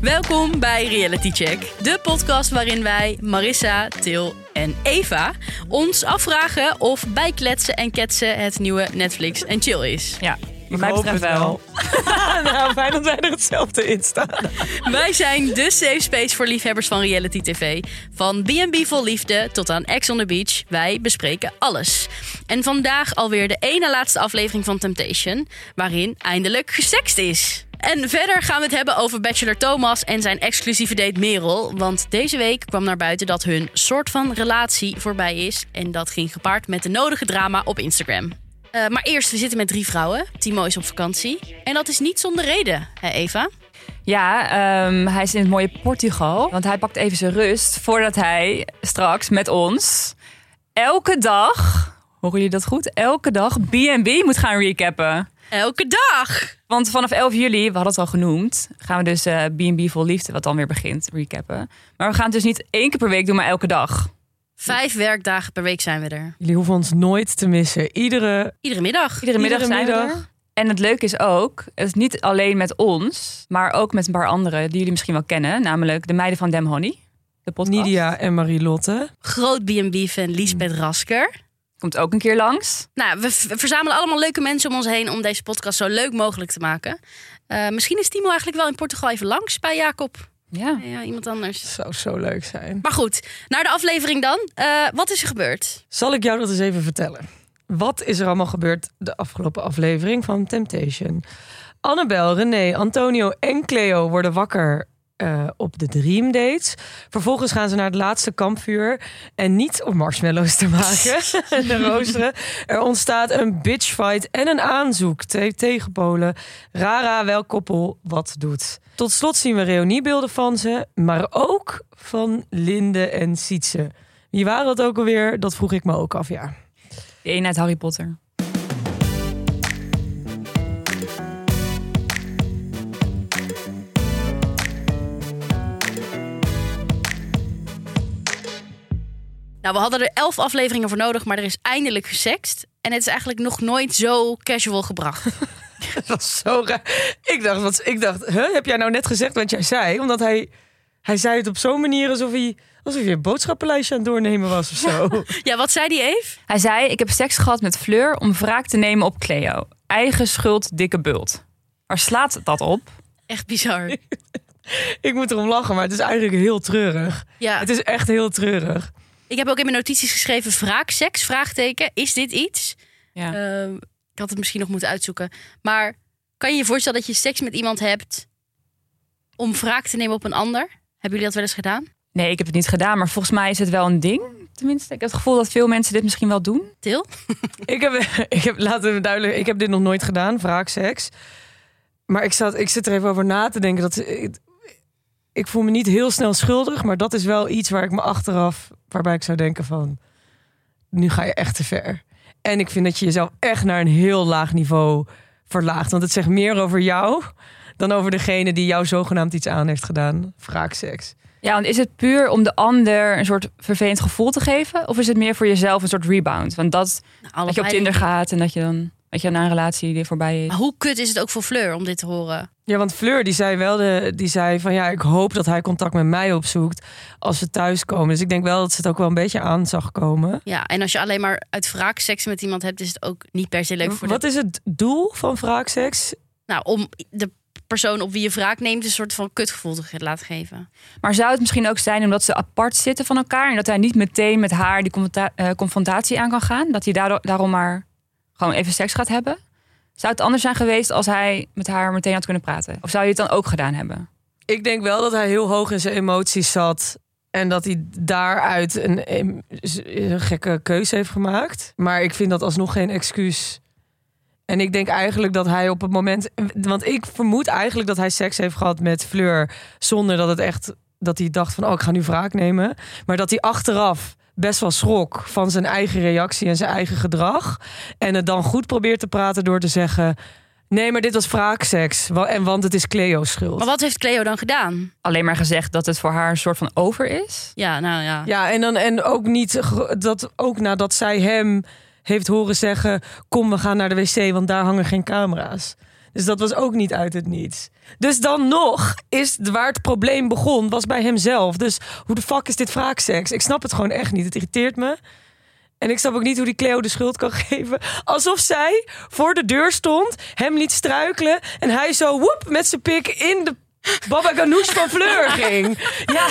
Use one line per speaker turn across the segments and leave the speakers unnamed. Welkom bij Reality Check, de podcast waarin wij, Marissa, Til en Eva, ons afvragen of bijkletsen en ketsen het nieuwe Netflix en chill is.
Ja,
Ik
mij
hoop
betreft
het
wel.
nou, fijn dat wij er hetzelfde in staan.
Wij zijn de safe space voor liefhebbers van reality tv. Van B&B vol liefde tot aan Ex on the Beach. Wij bespreken alles. En vandaag alweer de ene laatste aflevering van Temptation... waarin eindelijk gesext is. En verder gaan we het hebben over Bachelor Thomas en zijn exclusieve date Merel. Want deze week kwam naar buiten dat hun soort van relatie voorbij is. En dat ging gepaard met de nodige drama op Instagram. Eh, maar eerst, we zitten met drie vrouwen. Timo is op vakantie. En dat is niet zonder reden, hè Eva?
Ja, ehm, hij is in het mooie Portugal. Want hij pakt even zijn rust voordat hij straks met ons elke dag, horen jullie dat goed? Elke dag B&B moet gaan recappen.
Elke dag!
Want vanaf 11 juli, we hadden het al genoemd, gaan we dus eh, B&B vol liefde, wat dan weer begint, recappen. Maar we gaan het dus niet één keer per week doen, maar elke dag.
Vijf werkdagen per week zijn we er.
Jullie hoeven ons nooit te missen. Iedere,
Iedere middag.
Iedere middag zijn we
middag.
er. En het leuke is ook, het is niet alleen met ons, maar ook met een paar anderen die jullie misschien wel kennen. Namelijk de meiden van Dem Honey, de podcast.
Nidia en Marilotte.
Groot B&B-fan Liesbeth Rasker.
Komt ook een keer langs.
Nou, we v- verzamelen allemaal leuke mensen om ons heen om deze podcast zo leuk mogelijk te maken. Eh, misschien is Timo eigenlijk wel in Portugal even langs bij Jacob.
Ja.
Ja, iemand anders.
Zou zo leuk zijn.
Maar goed, naar de aflevering dan. Eh, wat is er gebeurd?
Zal ik jou dat eens even vertellen? Wat is er allemaal gebeurd de afgelopen aflevering van Temptation? Annabel, René, Antonio en Cleo worden wakker eh, op de Dream Dates. Vervolgens gaan ze naar het laatste kampvuur. En niet om marshmallows te maken en te roosteren. Er ontstaat een bitchfight en een aanzoek. Twee tegenpolen. Rara, wel koppel, wat doet. Tot slot zien we reuniebeelden van ze. Maar ook van Linde en Sietse. Wie waren dat ook alweer? Dat vroeg ik me ook af, ja.
De een uit Harry Potter.
Nou, we hadden er elf afleveringen voor nodig, maar er is eindelijk gesext. En het is eigenlijk nog nooit zo casual gebracht.
Dat was zo raar. Ik dacht, wat, ik dacht huh, heb jij nou net gezegd wat jij zei? Omdat hij, hij zei het op zo'n manier alsof hij, alsof hij een boodschappenlijstje aan het doornemen was of zo.
ja, wat zei die Eve?
Hij zei, ik heb seks gehad met Fleur om wraak te nemen op Cleo. Eigen schuld, dikke bult. Waar slaat dat op?
Echt bizar.
ik moet erom lachen, maar het is eigenlijk heel treurig.
Ja.
Het is echt heel treurig.
Ik heb ook in mijn notities geschreven wraakseks, vraagteken. Is dit iets?
Ja.
Ehm, ik had het misschien nog moeten uitzoeken. Maar kan je je voorstellen dat je seks met iemand hebt om wraak te nemen op een ander? Hebben jullie dat wel eens gedaan?
Nee, ik heb het niet gedaan, maar volgens mij is het wel een ding. Tenminste, ik heb het gevoel dat veel mensen dit misschien wel doen.
Til?
Ik heb, ik heb, laten we duidelijk, ik heb dit nog nooit gedaan, wraakseks. Maar ik, zat, ik zit er even over na te denken. Dat, ik, ik voel me niet heel snel schuldig, maar dat is wel iets waar ik me achteraf, waarbij ik zou denken van, nu ga je echt te ver. En ik vind dat je jezelf echt naar een heel laag niveau verlaagt. Want het zegt meer over jou dan over degene die jou zogenaamd iets aan heeft gedaan. Wraakseks.
Ja, want is het puur om de ander een soort vervelend gevoel te geven? Of is het meer voor jezelf een soort rebound? Want dat,
Nou,
dat je op
allebei.
Tinder gaat en dat je dan dat je na een relatie die voorbij is.
Maar hoe kut is het ook voor Fleur om dit te horen?
Ja, want Fleur die zei wel de, die zei van ja, ik hoop dat hij contact met mij opzoekt als ze thuiskomen. Dus ik denk wel dat ze het ook wel een beetje aan zag komen.
Ja, en als je alleen maar uit wraak seks met iemand hebt, is het ook niet per se leuk voor
Wat
de...
is het doel van wraakseks?
Nou, om de persoon op wie je wraak neemt een soort van kutgevoel te ge- laten geven.
Maar zou het misschien ook zijn omdat ze apart zitten van elkaar en dat hij niet meteen met haar die confronta- eh, confrontatie aan kan gaan? Dat hij daardoor, daarom maar gewoon even seks gaat hebben? Zou het anders zijn geweest als hij met haar meteen had kunnen praten? Of zou je het dan ook gedaan hebben?
Ik denk wel dat hij heel hoog in zijn emoties zat en dat hij daaruit een, em- z- een gekke keuze heeft gemaakt. Maar ik vind dat alsnog geen excuus. En ik denk eigenlijk dat hij op het moment. Want ik vermoed eigenlijk dat hij seks heeft gehad met Fleur. Zonder dat het echt. Dat hij dacht van, oh, ik ga nu wraak nemen. Maar dat hij achteraf best wel schrok van zijn eigen reactie en zijn eigen gedrag. En het dan goed probeert te praten door te zeggen... Nee, maar dit was wraakseks. Wa- En want het is Cleo's schuld.
Maar wat heeft Cleo dan gedaan?
Alleen maar gezegd dat het voor haar een soort van over is?
Ja, nou ja.
Ja, en, dan, en ook niet gro- dat ook nadat zij hem heeft horen zeggen: Kom, we gaan naar de wc, want daar hangen geen camera's. Dus dat was ook niet uit het niets. Dus dan nog is het- waar het probleem begon, was bij hemzelf. Dus hoe de fuck is dit wraakseks? Ik snap het gewoon echt niet. Het irriteert me. En ik snap ook niet hoe die Cleo de schuld kan geven. Alsof zij voor de deur stond, hem liet struikelen... en hij zo woep met zijn pik in de Baba Ganoush van Fleur ging. Ja,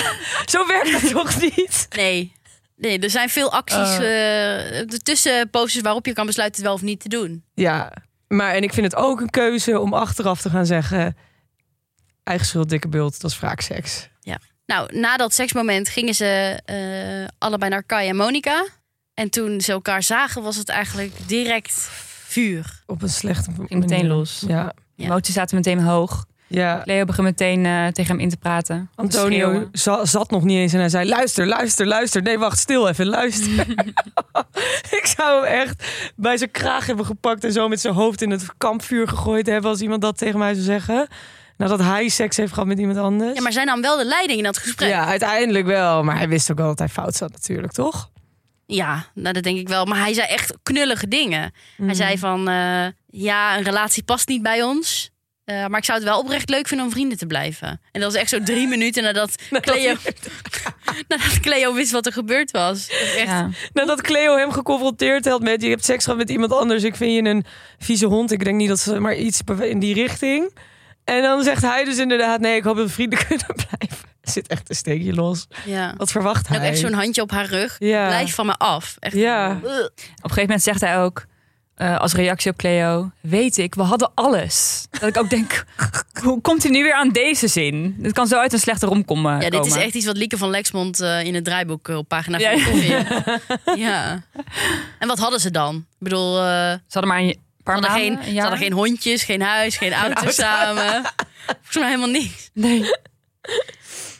zo werkt het toch niet?
Nee. Nee, er zijn veel acties eh, tussen poses waarop je kan besluiten het wel of niet te doen.
Ja, maar en ik vind het ook een keuze om achteraf te gaan zeggen... eigen schuld, dikke bult, dat is wraakseks.
Nou, na dat seksmoment gingen ze eh, allebei naar Kai en Monica. En toen ze elkaar zagen, was het eigenlijk direct vuur.
Op een slechte manier.
Ging meteen los.
Ja,
Ja.
Emoties zaten meteen hoog.
ja.
Leo begon meteen eh, tegen hem in te praten.
Antonio
Schreeuwen.
za- zat nog niet eens en hij zei: Luister, luister, luister. Nee, wacht, stil even, luister. ik zou hem echt bij zijn kraag hebben gepakt en zo met zijn hoofd in het kampvuur gegooid hebben. Als iemand dat tegen mij zou zeggen. Nadat hij seks heeft gehad met iemand anders.
Ja, maar zij nam wel de leiding in dat gesprek.
Ja, uiteindelijk wel. Maar hij wist ook wel dat hij fout zat, natuurlijk, toch?
Ja, nou, dat denk ik wel. Maar hij zei echt knullige dingen.
Mhm.
Hij zei van, eh, ja, een relatie past niet bij ons. Eh, maar ik zou het wel oprecht leuk vinden om vrienden te blijven. En dat was echt zo drie minuten nadat Cleo, nadat Cleo wist wat er gebeurd was. Dat is echt-
Ja.
Nadat Cleo hem geconfronteerd had met: Je hebt seks gehad met iemand anders. Ik vind je een vieze hond. Ik denk niet dat ze maar iets beve- in die richting. En dan zegt hij dus inderdaad: Nee, ik hoop dat we vrienden kunnen blijven. Er zit echt een steekje los.
ja.
Wat verwacht
En
Oh, hij?
ook echt zo'n handje op haar rug.
Ja.
Blijf van me af. Echt.
Ja.
Ugh.
Op een gegeven moment zegt hij ook, eh, als reactie op Cleo, weet ik, we hadden alles. Dat ik ook denk, hoe komt hij nu weer aan deze zin? Het kan zo uit een slechte romcom eh,
Ja, dit is
komen.
echt iets wat Lieke van Lexmond eh, in het draaiboek eh, op pagina
Ja,
4 vindt. Ja. En wat hadden ze dan? Ik bedoel, eh,
Ze hadden maar een
ze,
paar
hadden
maanden,
geen,
een
ze
jaar.
hadden geen hondjes, geen huis, geen auto samen. Volgens mij helemaal niks.
Nee.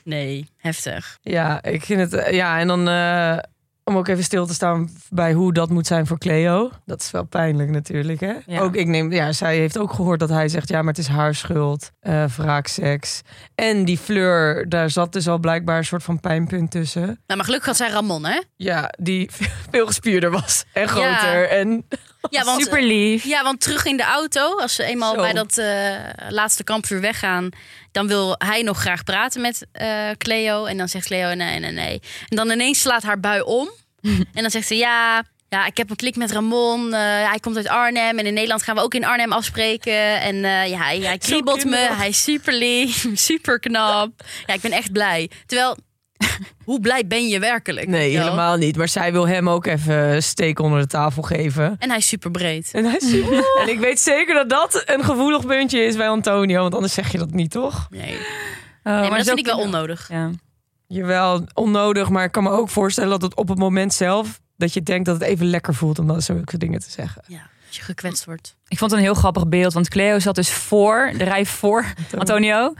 Nee, heftig.
Ja, ik vind het. eh, Ja, en dan eh, om ook even stil te staan bij hoe dat moet zijn voor Cleo. Dat is wel pijnlijk natuurlijk. Hè?
Ja.
Ook ik neem. Ja, zij heeft ook gehoord dat hij zegt: ja, maar het is haar schuld. eh wraakseks. En die Fleur, daar zat dus al blijkbaar een soort van pijnpunt tussen.
Nou, maar gelukkig had zij Ramon, hè?
Ja, die veel gespierder was en groter. En
Ja, want,
Super lief.
ja, want terug in de auto, als ze eenmaal
Zo.
bij dat eh, laatste kampvuur weggaan... dan wil hij nog graag praten met eh, Cleo. En dan zegt Cleo nee, nee, nee. En dan ineens slaat haar bui om. en dan zegt ze ja... Ja, ik heb een klik met Ramon. eh, hij komt uit Arnhem. En in Nederland gaan we ook in Arnhem afspreken. En eh, ja, hij, hij
Zo
kriebelt me.
kinderachtig.
Hij is super lief, super knap. Ja, ik ben echt blij. Terwijl, hoe blij ben je werkelijk?
nee,
weet je wel?
helemaal niet. Maar zij wil hem ook even een steek onder de tafel geven.
En hij is super breed.
En, hij is super- en ik weet zeker dat dat een gevoelig puntje is bij Antonio. Want anders zeg je dat niet, toch?
Nee.
Oh,
Nee,
maar
maar dat
zo-
vind ik wel onnodig.
Ja.
Jawel, onnodig. Maar ik kan me ook voorstellen dat het op het moment zelf... dat je denkt dat het even lekker voelt om dat zulke dingen te zeggen.
Ja, als je gekwetst wordt.
Ik vond het een heel grappig beeld, want Cleo zat dus voor, de rij voor Antonio.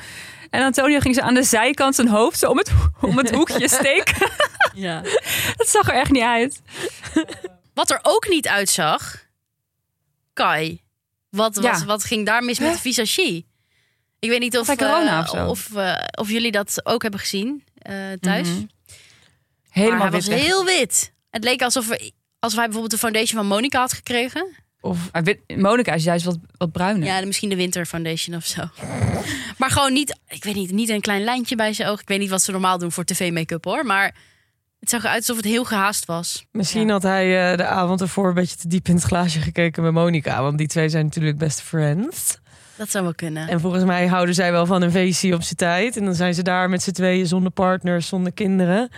En Antonio ging ze aan de zijkant zijn hoofd zo om het, om het hoekje steken.
Ja.
Dat zag er echt niet uit.
Wat er ook niet uitzag, Kai. Wat,
Ja.
wat, wat ging daar mis met de visagie? Ik weet niet of,
Had hij corona
eh,
of zo?
of, eh, of jullie dat ook hebben gezien eh, thuis.
Mhm.
Maar
Helemaal
hij
wit
was
weg.
heel wit. Het leek alsof, we, alsof hij bijvoorbeeld de foundation van Monica had gekregen.
Of
Maar wit- Monica is juist wat, wat bruiner.
Ja, misschien de winter foundation of zo. maar gewoon niet, ik weet niet, niet een klein lijntje bij zijn oog. Ik weet niet wat ze normaal doen voor tv-make-up hoor. Maar het zag eruit alsof het heel gehaast was.
misschien
Ja.
had hij eh, de avond ervoor een beetje te diep in het glaasje gekeken met Monica. Want die twee zijn natuurlijk best friends.
Dat zou wel kunnen.
En volgens mij houden zij wel van een feestje op zijn tijd. En dan zijn ze daar met z'n tweeën zonder partners, zonder kinderen.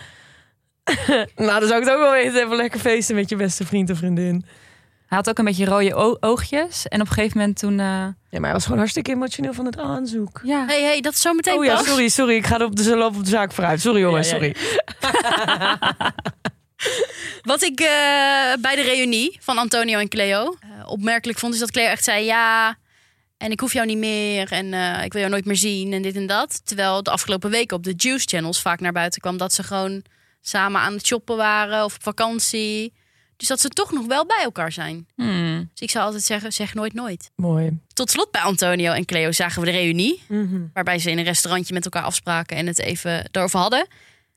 nou, dan zou ik het ook wel weten. Even lekker feesten met je beste vriend of vriendin.
Hij had ook een beetje rode o- oogjes. En op een gegeven moment toen... eh,
Ja, maar hij was gewoon hartstikke emotioneel van het aanzoek.
ja,
hey, hey, dat is zo meteen
Oh ja,
pas.
sorry, sorry. Ik ga op de, loop op de zaak vooruit. Sorry jongens,
Ja, ja, ja.
sorry.
Wat ik eh, bij de reunie van Antonio en Cleo eh, opmerkelijk vond, is dat Cleo echt zei ja. En ik hoef jou niet meer. En eh, ik wil jou nooit meer zien. En dit en dat. Terwijl de afgelopen weken op de Juice Channels vaak naar buiten kwam dat ze gewoon samen aan het shoppen waren of op vakantie. Dus dat ze toch nog wel bij elkaar zijn.
hmm.
Dus ik zou altijd zeggen: zeg nooit, nooit.
Mooi.
Tot slot bij Antonio en Cleo zagen we de reunie.
Mhm.
Waarbij ze in een restaurantje met elkaar afspraken en het even daarover hadden.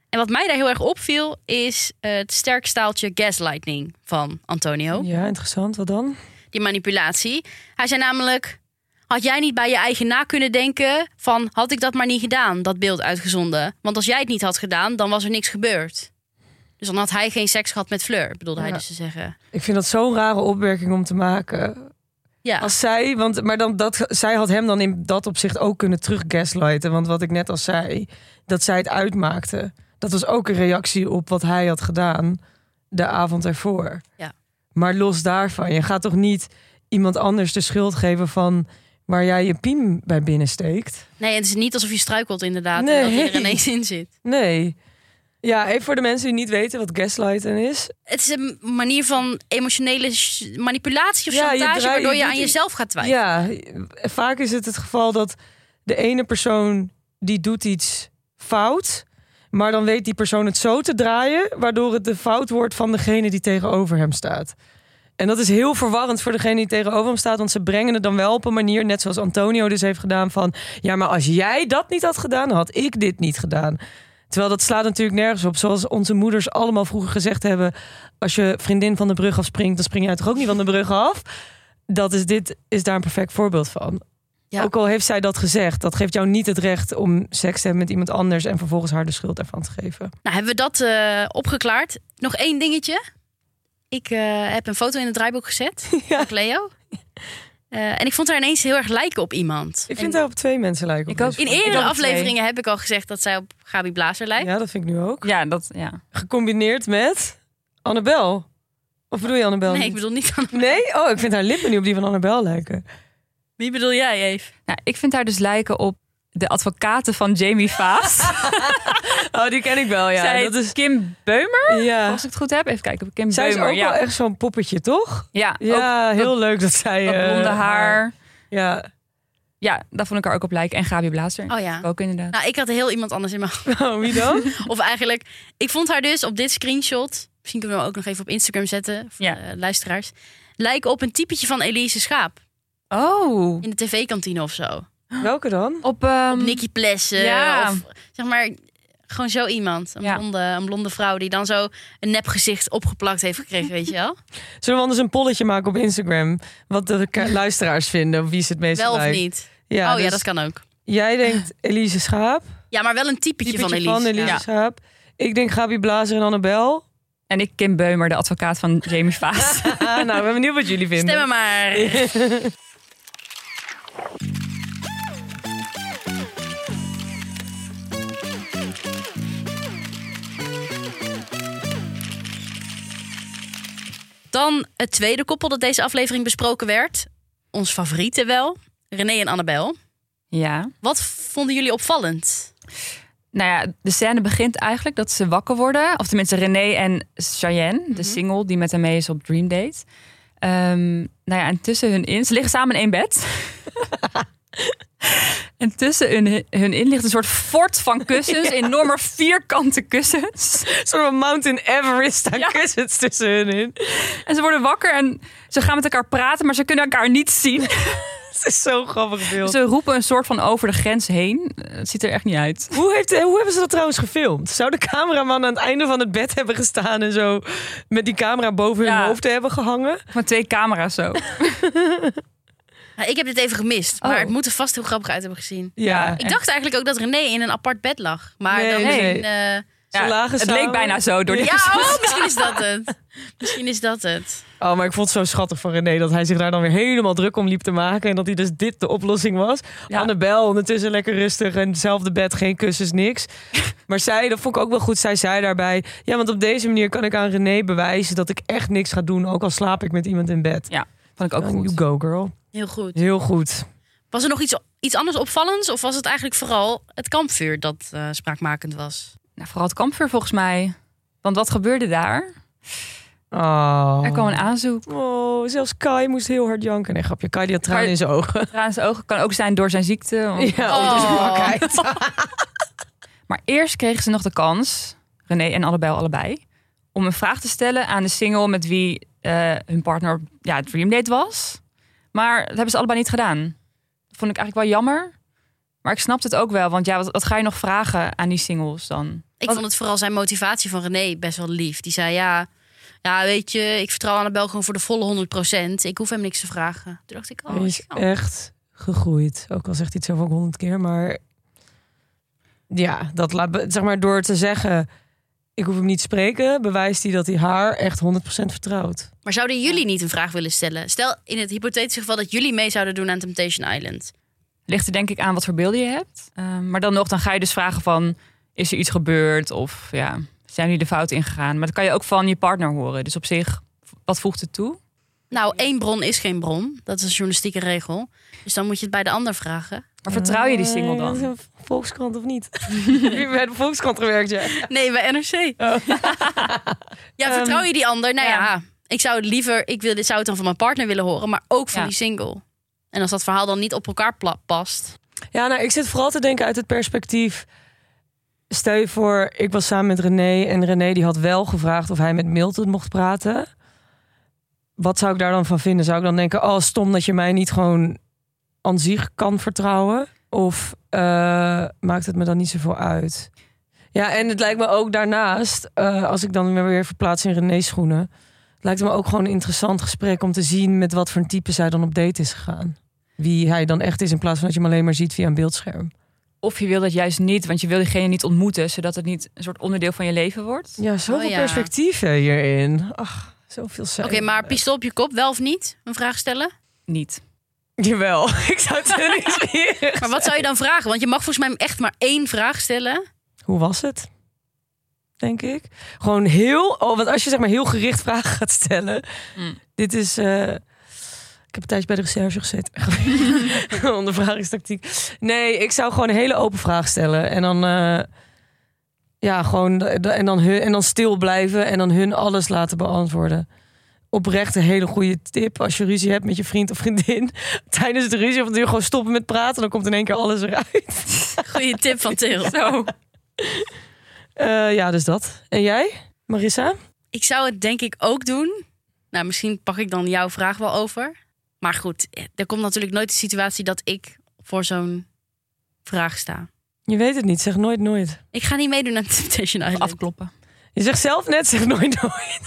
En wat mij daar heel erg opviel is eh, het sterk staaltje gaslighting van Antonio.
Ja, interessant. Wat dan?
Die manipulatie. Hij zei namelijk: Had jij niet bij je eigen na kunnen denken van had ik dat maar niet gedaan, dat beeld uitgezonden? Want als jij het niet had gedaan, dan was er niks gebeurd. Dus dan had hij geen seks gehad met Fleur, bedoelde hij
Ja.
dus te zeggen.
Ik vind dat zo'n rare opmerking om te maken.
Ja,
Als zij, want, maar dan dat, zij had hem dan in dat opzicht ook kunnen teruggaslighten. Want wat ik net al zei, dat zij het uitmaakte. Dat was ook een reactie op wat hij had gedaan de avond ervoor.
Ja.
Maar los daarvan, je gaat toch niet iemand anders de schuld geven van waar jij je piem bij binnensteekt?
nee, het is niet alsof je struikelt inderdaad
Nee.
en dat hij er ineens in zit.
Nee. Ja, even voor de mensen die niet weten wat gaslighten is.
Het is een manier van emotionele sh- manipulatie of
Ja, je
chantage,
draai-
waardoor
je
je
doet
aan
i-
jezelf gaat twijfelen.
Ja, vaak is het het geval dat de ene persoon die doet iets fout, maar dan weet die persoon het zo te draaien, waardoor het de fout wordt van degene die tegenover hem staat. En dat is heel verwarrend voor degene die tegenover hem staat, want ze brengen het dan wel op een manier, net zoals Antonio dus heeft gedaan, van ja, maar als jij dat niet had gedaan, dan had ik dit niet gedaan. Terwijl dat slaat natuurlijk nergens op. Zoals onze moeders allemaal vroeger gezegd hebben: als je vriendin van de brug afspringt, dan spring jij toch ook niet van de brug af dat is dit is daar een perfect voorbeeld van.
Ja.
Ook al heeft zij dat gezegd, dat geeft jou niet het recht om seks te hebben met iemand anders en vervolgens haar de schuld daarvan te geven.
Nou, hebben we dat eh, opgeklaard. Nog één dingetje. Ik eh, heb een foto in het draaiboek gezet
Ja.
van Cleo. Eh, en ik vond haar ineens heel erg lijken op iemand.
Ik vind
En
haar op twee mensen lijken. op
Ik ook.
deze
in
foto.
eerdere
ook op
afleveringen heb ik al gezegd dat zij op Gabi Blazer lijkt.
Ja, dat vind ik nu ook.
Ja, dat, ja.
Gecombineerd met Annabel. Of bedoel je Annabel?
nee,
niet?
ik bedoel niet aan...
Nee? Oh, ik vind haar lippen nu op die van Annabel lijken.
Wie bedoel jij, Eve?
Nou, ik vind haar dus lijken op de advocaten van Jamie Vaas.
Oh, die ken ik wel, ja.
Zij
dat
is Kim Beumer,
ja.
als ik het goed heb. Even kijken, Kim
Zij is
Beumer.
ook
ja.
wel echt zo'n poppetje, toch?
ja, ook
Ja, heel leuk dat zij...
dat
eh,
blonde haar.
Ja.
Ja, daar vond ik haar ook op lijken. En Gabi Blazer.
Oh ja.
Ook inderdaad.
Nou, ik had heel iemand anders in mijn
Oh, wie dan?
Of eigenlijk, ik vond haar dus op dit screenshot. Misschien kunnen we hem ook nog even op Instagram zetten.
Nou,
Voor
Ja.
eh, luisteraars. Lijken op een typetje van Elise Schaap.
eh,
Oh.
In de tv-kantine of zo.
Welke dan?
Op, ehm,
Nicky Plessen.
ja.
Of zeg maar, gewoon zo iemand. Een,
Ja.
blonde, een blonde vrouw die dan zo een nepgezicht opgeplakt heeft gekregen, weet je wel?
Zullen we anders een polletje maken op Instagram? Wat de ka- luisteraars vinden, wie ze het meest
wel of
lijkt.
niet?
Ja,
oh ja,
dus
dat kan ook.
Jij denkt Elise Schaap.
Ja, maar wel een typetje,
typetje
van Elise. Ja.
Schaap. Ik denk Gabi Blazer en Annabel.
En ik Kim Beumer, de advocaat van Jamie Vaas.
Ah, nou, ik ben benieuwd wat jullie vinden.
Stemmen maar. Dan het tweede koppel dat deze aflevering besproken werd. Ons favoriete wel. René en Annabel.
ja.
Wat vonden jullie opvallend?
Nou ja, de scène begint eigenlijk dat ze wakker worden. Of tenminste René en Cheyenne,
Mhm.
de single die met hem mee is op Dream Date. Ehm, nou ja, en tussen hun in... Ze liggen samen in één bed. en tussen hun, hun in ligt een soort fort van kussens. Enorme vierkante kussens.
Een soort van Mountain Everest, daar
Ja.
kussens tussen hun in.
En ze worden wakker en ze gaan met elkaar praten, maar ze kunnen elkaar niet zien.
Het is zo'n grappig beeld.
Ze roepen een soort van over de grens heen. Eh, Het ziet er echt niet uit.
Hoe, heeft, eh, hoe hebben ze dat trouwens gefilmd? Zou de cameraman aan het einde van het bed hebben gestaan en zo... met die camera boven hun
Ja.
hoofd hebben gehangen?
Met twee camera's zo.
Nou, ik heb dit even gemist,
Oh.
maar het moet er vast heel grappig uit hebben gezien.
Ja,
Ik dacht eigenlijk ook dat René in een apart bed lag. Maar
Nee,
dan
nee.
misschien, eh,
Ze lagen
het
samen.
leek bijna zo door die
Ja, oh, misschien is dat het. Misschien is dat het.
Oh, maar ik vond het zo schattig van René dat hij zich daar dan weer helemaal druk om liep te maken. En dat hij dus dit de oplossing was.
Ja.
Annabel ondertussen lekker rustig en hetzelfde bed, geen kussens, niks. Maar zij, dat vond ik ook wel goed, zij zei daarbij... Ja, want op deze manier kan ik aan René bewijzen dat ik echt niks ga doen. Ook al slaap ik met iemand in bed.
Vond ik ook
You
goed.
go, girl.
Heel goed.
Heel goed.
Was er nog iets, iets anders opvallends? Of was het eigenlijk vooral het kampvuur dat eh, spraakmakend was?
Nou, vooral het kampvuur volgens mij. Want wat gebeurde daar?
Oh.
Er kwam een aanzoek.
Oh, zelfs Kai moest heel hard janken. Nee, grapje. Kai die had tranen
Kai-
in zijn ogen.
Traan in zijn ogen kan ook zijn door zijn ziekte. want-
Ja,
Oh.
oh. dus wakheid.
Maar eerst kregen ze nog de kans, René en Annabel allebei, om een vraag te stellen aan de single met wie eh, hun partner op, ja, Dreamdate was. Maar dat hebben ze allebei niet gedaan. Dat vond ik eigenlijk wel jammer. Maar ik snapte het ook wel, want ja, wat, wat ga je nog vragen aan die singles dan?
Ik
Wat-
vond het vooral zijn motivatie van René best wel lief. Die zei, ja, ja weet je, ik vertrouw Annabel gewoon voor de volle 100%. Ik hoef hem niks te vragen. Toen dacht ik, oh,
Hij is
oh.
echt gegroeid. Ook al zegt hij het zelf ook honderd keer, maar ja, dat laat be- zeg maar door te zeggen. Ik hoef hem niet te spreken, bewijst hij dat hij haar echt 100% vertrouwt.
Maar zouden jullie niet een vraag willen stellen? Stel in het hypothetische geval dat jullie mee zouden doen aan Temptation Island.
Ligt er denk ik aan wat voor beelden je hebt. Ehm, maar dan nog, dan ga je dus vragen van... is er iets gebeurd of ja, zijn jullie de fout ingegaan? Maar dat kan je ook van je partner horen. Dus op zich, wat voegt het toe?
Nou, één bron is geen bron. Dat is een journalistieke regel. Dus dan moet je het bij de ander vragen.
Maar vertrouw je die
Eh,
single
dat is
dan?
een Volkskrant of niet? Heb je bij de Volkskrant gewerkt, ja.
Nee, bij NRC.
Oh.
ja, vertrouw je die ander? Nou ja,
ja.
ik zou het liever, ik wil, dit zou het dan van mijn partner willen horen, maar ook van
Ja.
die single. En als dat verhaal dan niet op elkaar pla- past.
Ja, nou, ik zit vooral te denken uit het perspectief. Stel je voor, ik was samen met René en René die had wel gevraagd of hij met Milton mocht praten. Wat zou ik daar dan van vinden? Zou ik dan denken, oh stom dat je mij niet gewoon aan zich kan vertrouwen? Of eh, maakt het me dan niet zoveel uit? Ja, en het lijkt me ook daarnaast, eh, als ik dan weer verplaats in René's schoenen... lijkt het me ook gewoon een interessant gesprek om te zien met wat voor een type zij dan op date is gegaan wie hij dan echt is, in plaats van dat je hem alleen maar ziet via een beeldscherm.
Of je wil dat juist niet, want je wil diegene niet ontmoeten... zodat het niet een soort onderdeel van je leven wordt.
Ja, zoveel
Oh ja.
perspectieven hierin. Ach, zoveel
Oké,
zijn.
maar pistool op je kop, wel of niet? Een vraag stellen.
Niet.
Jawel, ik zou het heel niet meer-
Maar wat zou je dan vragen? Want je mag volgens mij echt maar één vraag stellen.
Hoe was het? Denk ik. Gewoon heel... Oh, want als je zeg maar heel gericht vragen gaat stellen...
Mm.
Dit is... eh, ik heb een tijdje bij de recherche gezeten. Ondervragingstactiek. Nee, ik zou gewoon een hele open vraag stellen. En dan... eh, ja, gewoon... d- d- En dan, hun, en dan stil blijven. En dan hun alles laten beantwoorden. Oprecht een hele goede tip. Als je ruzie hebt met je vriend of vriendin... Tijdens de ruzie of natuurlijk gewoon stoppen met praten. Dan komt in één keer alles eruit.
Goeie tip van Til.
Zo.
Eh, ja, dus dat. En jij, Marissa?
Ik zou het denk ik ook doen. Nou, misschien pak ik dan jouw vraag wel over. Maar goed, eh, er komt natuurlijk nooit de situatie dat ik voor zo'n vraag sta.
Je weet het niet, zeg nooit nooit.
Ik ga niet meedoen aan Temptation Island.
Afkloppen.
Je zegt zelf net, zeg nooit nooit.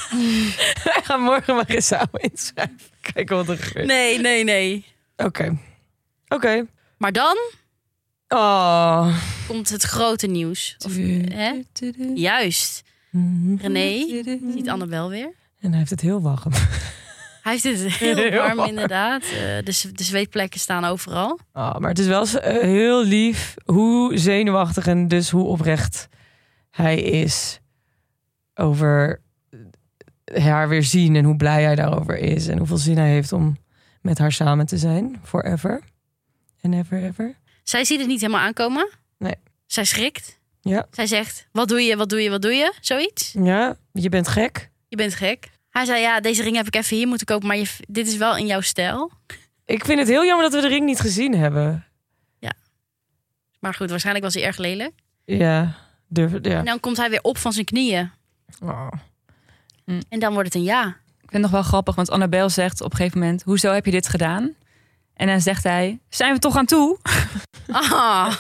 Wij gaan morgen Marissa inschrijven. Kijken wat er gebeurt.
Nee, nee, nee.
Oké. Oké.
Maar dan
Oh.
komt het grote nieuws. Of, hè? Juist.
Mhm.
René ziet Annabel weer.
En hij heeft het heel warm.
Hij heeft het heel
Heel
warm
warm.
inderdaad. Eh, de, z- de zweetplekken staan overal.
Oh, maar het is wel eh, heel lief hoe zenuwachtig en dus hoe oprecht hij is over eh, haar weer zien en hoe blij hij daarover is en hoeveel zin hij heeft om met haar samen te zijn forever en ever ever.
Zij ziet het niet helemaal aankomen.
Nee.
Zij schrikt.
Ja.
Zij zegt, wat doe je, wat doe je, wat doe je? Zoiets.
Ja, je bent gek.
Je bent gek. Hij zei, ja, deze ring heb ik even hier moeten kopen, maar je, v- dit is wel in jouw stijl.
Ik vind het heel jammer dat we de ring niet gezien hebben.
Maar goed, waarschijnlijk was hij erg lelijk.
Ja, durf ja.
En dan komt hij weer op van zijn knieën.
Oh.
En dan wordt het een ja.
Ik vind het nog wel grappig, want Annabel zegt op een gegeven moment... hoezo heb je dit gedaan? En dan zegt hij, zijn we toch aan toe?
Ah,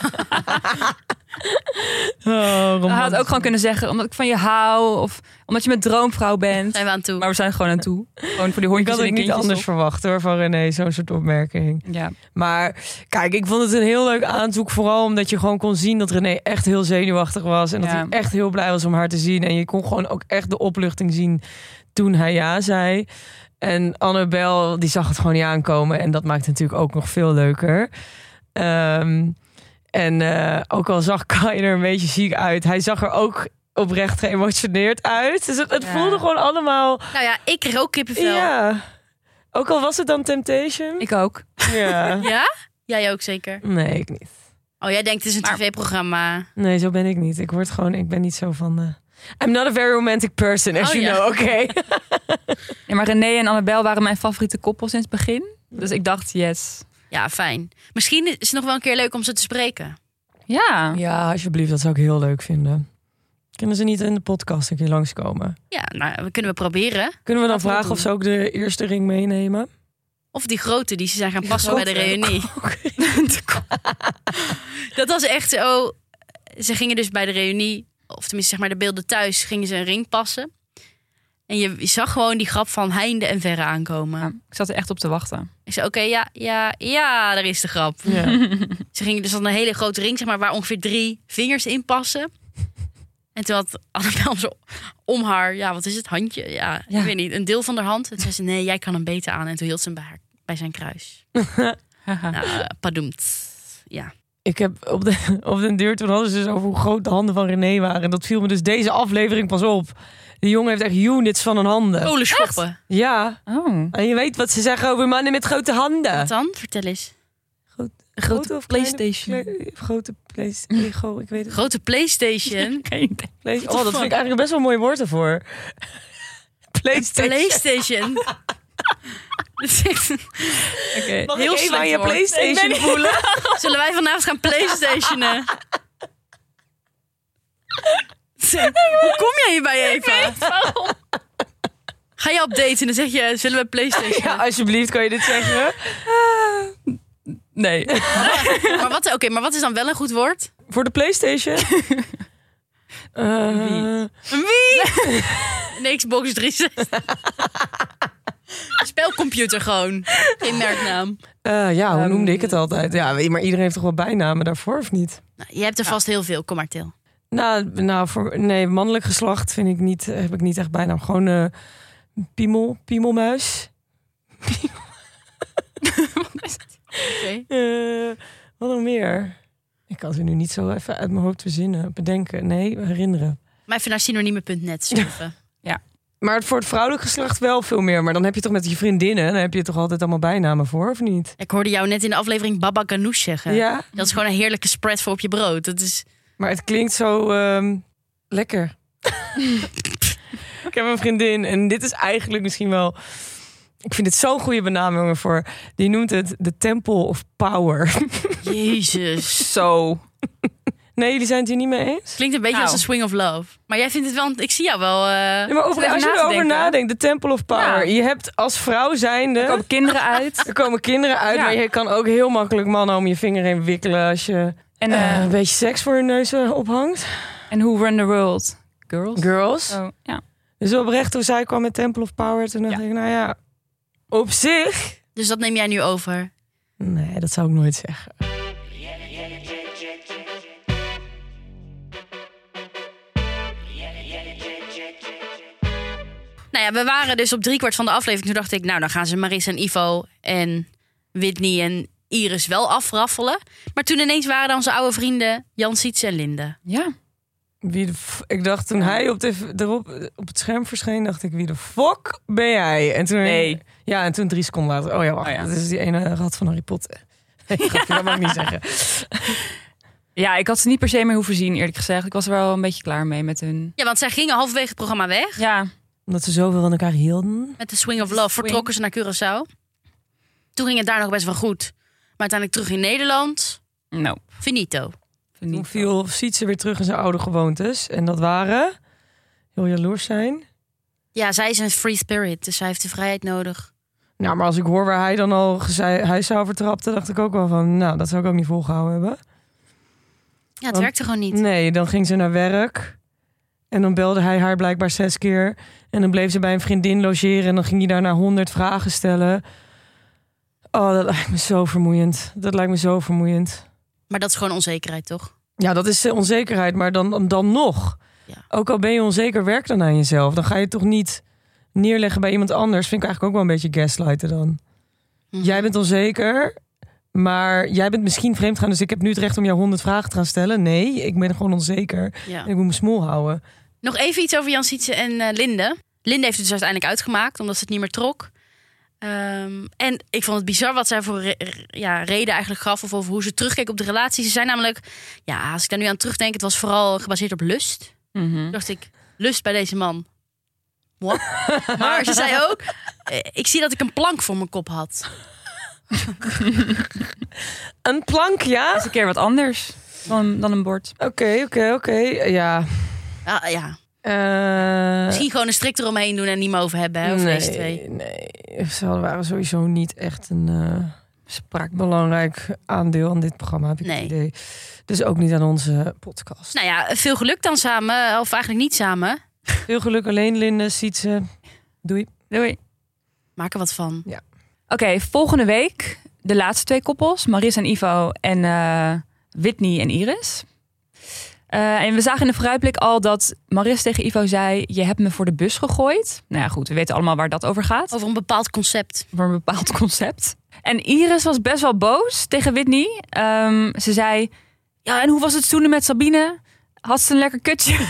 Hij had ook gewoon kunnen zeggen, omdat ik van je hou... of omdat je mijn droomvrouw bent.
zijn we aan toe.
Maar we zijn er gewoon aan toe. Gewoon voor die
Ik
hondjes
had
en
het
de
niet
kindjes
anders
op.
verwacht hoor van René, zo'n soort opmerking.
Ja.
Maar kijk, ik vond het een heel leuk aanzoek. Vooral omdat je gewoon kon zien dat René echt heel zenuwachtig was. En dat
Ja.
hij echt heel blij was om haar te zien. En je kon gewoon ook echt de opluchting zien toen hij ja zei. En Annabel, die zag het gewoon niet aankomen. En dat maakt het natuurlijk ook nog veel leuker. Ehm, en eh, ook al zag Kai er een beetje ziek uit. Hij zag er ook oprecht geëmotioneerd uit. Dus het, het
Ja.
voelde gewoon allemaal...
Nou ja, ik kreeg ook kippenvel.
Ja. Ook al was het dan Temptation.
Ik ook.
Ja.
Ja? Jij ook zeker.
Nee, ik niet.
Oh, jij denkt, het is een
Maar-
tv-programma.
Nee, zo ben ik niet. Ik word gewoon, ik ben niet zo van. eh, I'm not a very romantic person, as
Oh,
you
ja.
know. Oké.
Ja, maar René en Annabel waren mijn favoriete koppel sinds het begin. Dus ik dacht, yes.
Ja, fijn. Misschien is het nog wel een keer leuk om ze te spreken.
Ja.
Ja, alsjeblieft, dat zou ik heel leuk vinden. Kunnen ze niet in de podcast een keer langskomen?
Ja, nou, we kunnen we proberen.
Kunnen
Laten we
we dan
dat
vragen of
doen.
ze ook de eerste ring meenemen?
Of die grote die ze zijn gaan passen bij de
grote.
reunie. Dat was echt zo. oh, Ze gingen dus bij de reunie, of tenminste zeg maar de beelden thuis, gingen ze een ring passen. En je zag gewoon die grap van heinde en verre aankomen.
Ja, ik zat er echt op te wachten.
Ik zei, oké, ja, ja, ja, daar is de grap. Ze gingen dus dan een hele grote ring, zeg maar, waar ongeveer drie vingers in passen. En toen had Annabel zo om haar, ja, wat is het, handje? Ja,
Ja.
ik weet niet, een deel van haar hand. En toen zei ze, nee, jij kan hem beter aan. En toen hield ze hem bij, haar, bij zijn kruis. Nou, eh, padoemt. Ja.
Oh.
Ik heb op, de, op den duur, toen hadden ze dus over hoe groot de handen van René waren. En dat viel me dus deze aflevering pas op. Die jongen heeft echt units van een handen.
Kolen schoppen.
Ja,
oh.
en je weet wat ze zeggen over mannen met grote handen.
Wat dan? Vertel eens.
Grote of kleine
PlayStation.
Kle- grote PlayStation. Ego, ik weet het.
Grote Playstation.
Geen idee.
Play- oh, dat vind ik eigenlijk een best wel een mooi woord ervoor. PlayStation.
Playstation. Dat is echt-
Oké.
Mag
Heel
ik even
slecht
aan je
woord.
PlayStation
Ik ben-
voelen?
Zullen wij vanavond gaan playstationen? Zeg, Hoe kom jij hierbij, Eva? Ga je op date en dan zeg je, zullen we playstationen?
Ja, alsjeblieft, kan je dit zeggen?
Nee.
Maar, wat, oké, maar wat is dan wel een goed woord?
Voor de PlayStation? Eh,
Wie?
Een wie? Een Xbox 360. Spelcomputer gewoon. Geen merknaam.
eh, ja, hoe
Ehm,
noemde ik het altijd? Ja, weet je, maar iedereen heeft toch wel bijnamen daarvoor, of niet?
Nou, je hebt er vast heel veel, kom maar til.
Nou, nou voor, nee, mannelijk geslacht vind ik niet, heb ik niet echt bijnaam. Gewoon eh piemel, piemelmuis.
Oké.
Eh, wat nog meer? Ik kan ze nu niet zo even uit mijn hoofd verzinnen, bedenken. Nee, herinneren.
Maar even naar synoniemen.net surfen.
Maar het- voor het vrouwelijk geslacht wel veel meer. Maar dan heb je toch met je vriendinnen, dan heb je toch altijd allemaal bijnamen voor, of niet?
Ik hoorde jou net in de aflevering Baba Ganoush zeggen.
Ja,
Dat is gewoon een heerlijke spread voor op je brood. Dat is...
maar het klinkt zo ehm, lekker. ik heb een vriendin en dit is eigenlijk misschien wel... Ik vind het zo'n goede benaming ervoor. Die noemt het de Temple of Power.
Jezus.
Zo.
Nee, jullie zijn het hier niet mee eens?
Klinkt een beetje
Nou.
als een swing of love. Maar jij vindt het wel... Ik zie jou wel... eh,
Ja, maar ook,
Zit even
als je
na te
erover
denken.
nadenkt, de Temple of Power.
Ja.
Je hebt als vrouw zijnde...
Er komen kinderen uit.
Er komen kinderen uit,
Ja.
maar je kan ook heel makkelijk mannen om je vinger heen wikkelen als je
En,
eh,
eh,
een beetje seks voor hun neus eh, ophangt.
en Who Run the World? Girls.
Girls.
Oh, ja.
Dus oprecht toen zij kwam met Temple of Power, toen dacht
Ja.
ik, nou ja, op zich...
Dus dat neem jij nu over.
Nee, dat zou ik nooit zeggen.
Nou ja, we waren dus op driekwart van de aflevering. Toen dacht ik, nou dan gaan ze Maris en Ivo en Whitney en Iris wel afraffelen. Maar toen ineens waren dan onze oude vrienden Jan Sietse en Linde.
Ja.
Wie de f- ik dacht toen hij op, de, erop, op het scherm verscheen, dacht ik, wie de fuck ben jij? En toen,
Nee.
Ja, en toen drie seconden later, oh ja, wacht,
Oh ja.
dat is die ene rat van Harry Potter. Nee, grapje, dat mag ik niet zeggen.
Ja, ik had ze niet per se meer hoeven zien, eerlijk gezegd. Ik was er wel een beetje klaar mee met hun.
Ja, want zij gingen halverwege het programma weg.
Ja.
Omdat ze zoveel van elkaar hielden.
Met de Swing of Love vertrokken ze naar Curaçao. Toen ging het daar nog best wel goed. Maar uiteindelijk terug in Nederland.
Nou.
Finito.
Toen viel Sietse weer terug in zijn oude gewoontes. En dat waren heel jaloers zijn.
Ja, zij is een free spirit, dus zij heeft de vrijheid nodig.
Nou, maar als ik hoor waar hij dan al gezei- huis over trapte, dacht ik ook wel van, nou, dat zou ik ook niet volgehouden hebben.
Ja, het
Want-
werkte gewoon niet.
Nee, dan ging ze naar werk. En dan belde hij haar blijkbaar zes keer. En dan bleef ze bij een vriendin logeren. En dan ging hij daarna honderd vragen stellen. Oh, dat lijkt me zo vermoeiend. Dat lijkt me zo vermoeiend.
Maar dat is gewoon onzekerheid, toch?
Ja, dat is eh, onzekerheid, maar dan, dan nog.
Ja.
Ook al ben je onzeker, werk dan aan jezelf. Dan ga je het toch niet neerleggen bij iemand anders. Vind ik eigenlijk ook wel een beetje gaslighten dan.
Mhm.
Jij bent onzeker, maar jij bent misschien vreemd gaan. Dus ik heb nu het recht om jou honderd vragen te gaan stellen. Nee, ik ben gewoon onzeker.
Ja.
En ik moet me smoel houden.
Nog even iets over Jan Sietse en eh, Linde. Linde heeft het dus uiteindelijk uitgemaakt, omdat ze het niet meer trok. Ehm, en ik vond het bizar wat zij voor re- re- ja, reden eigenlijk gaf... of over hoe ze terugkeek op de relatie. Ze zei namelijk, ja, als ik daar nu aan terugdenk... het was vooral gebaseerd op lust.
Mhm.
Toen dacht ik, lust bij deze man. Moi. Maar ze zei ook, eh, ik zie dat ik een plank voor mijn kop had.
Een plank, ja?
is een keer wat anders dan, dan een bord.
Oké, oké, oké. Ja.
Ah, ja.
Eh,
Misschien gewoon een strik eromheen doen en niet meer over hebben. Hè, over deze twee.
nee, nee, ze waren sowieso niet echt een eh,
Sprak.
belangrijk aandeel aan dit programma, heb ik
Nee.
het idee. Dus ook niet aan onze podcast.
Dus Nou ja, veel geluk dan samen. Of eigenlijk niet samen.
Veel geluk alleen, Linde, Sietse. Doei.
Doei.
Maak er wat van.
Oké, volgende week de laatste twee koppels. Maris en Ivo en eh, Whitney en Iris. Eh, en we zagen in de vooruitblik al dat Maris tegen Ivo zei... je hebt me voor de bus gegooid. Nou ja, goed, we weten allemaal waar dat over gaat.
Over een bepaald concept.
Over een bepaald concept. En Iris was best wel boos tegen Whitney. Ehm, ze zei... ja, en hoe was het zoenen met Sabine? Had ze een lekker kutje?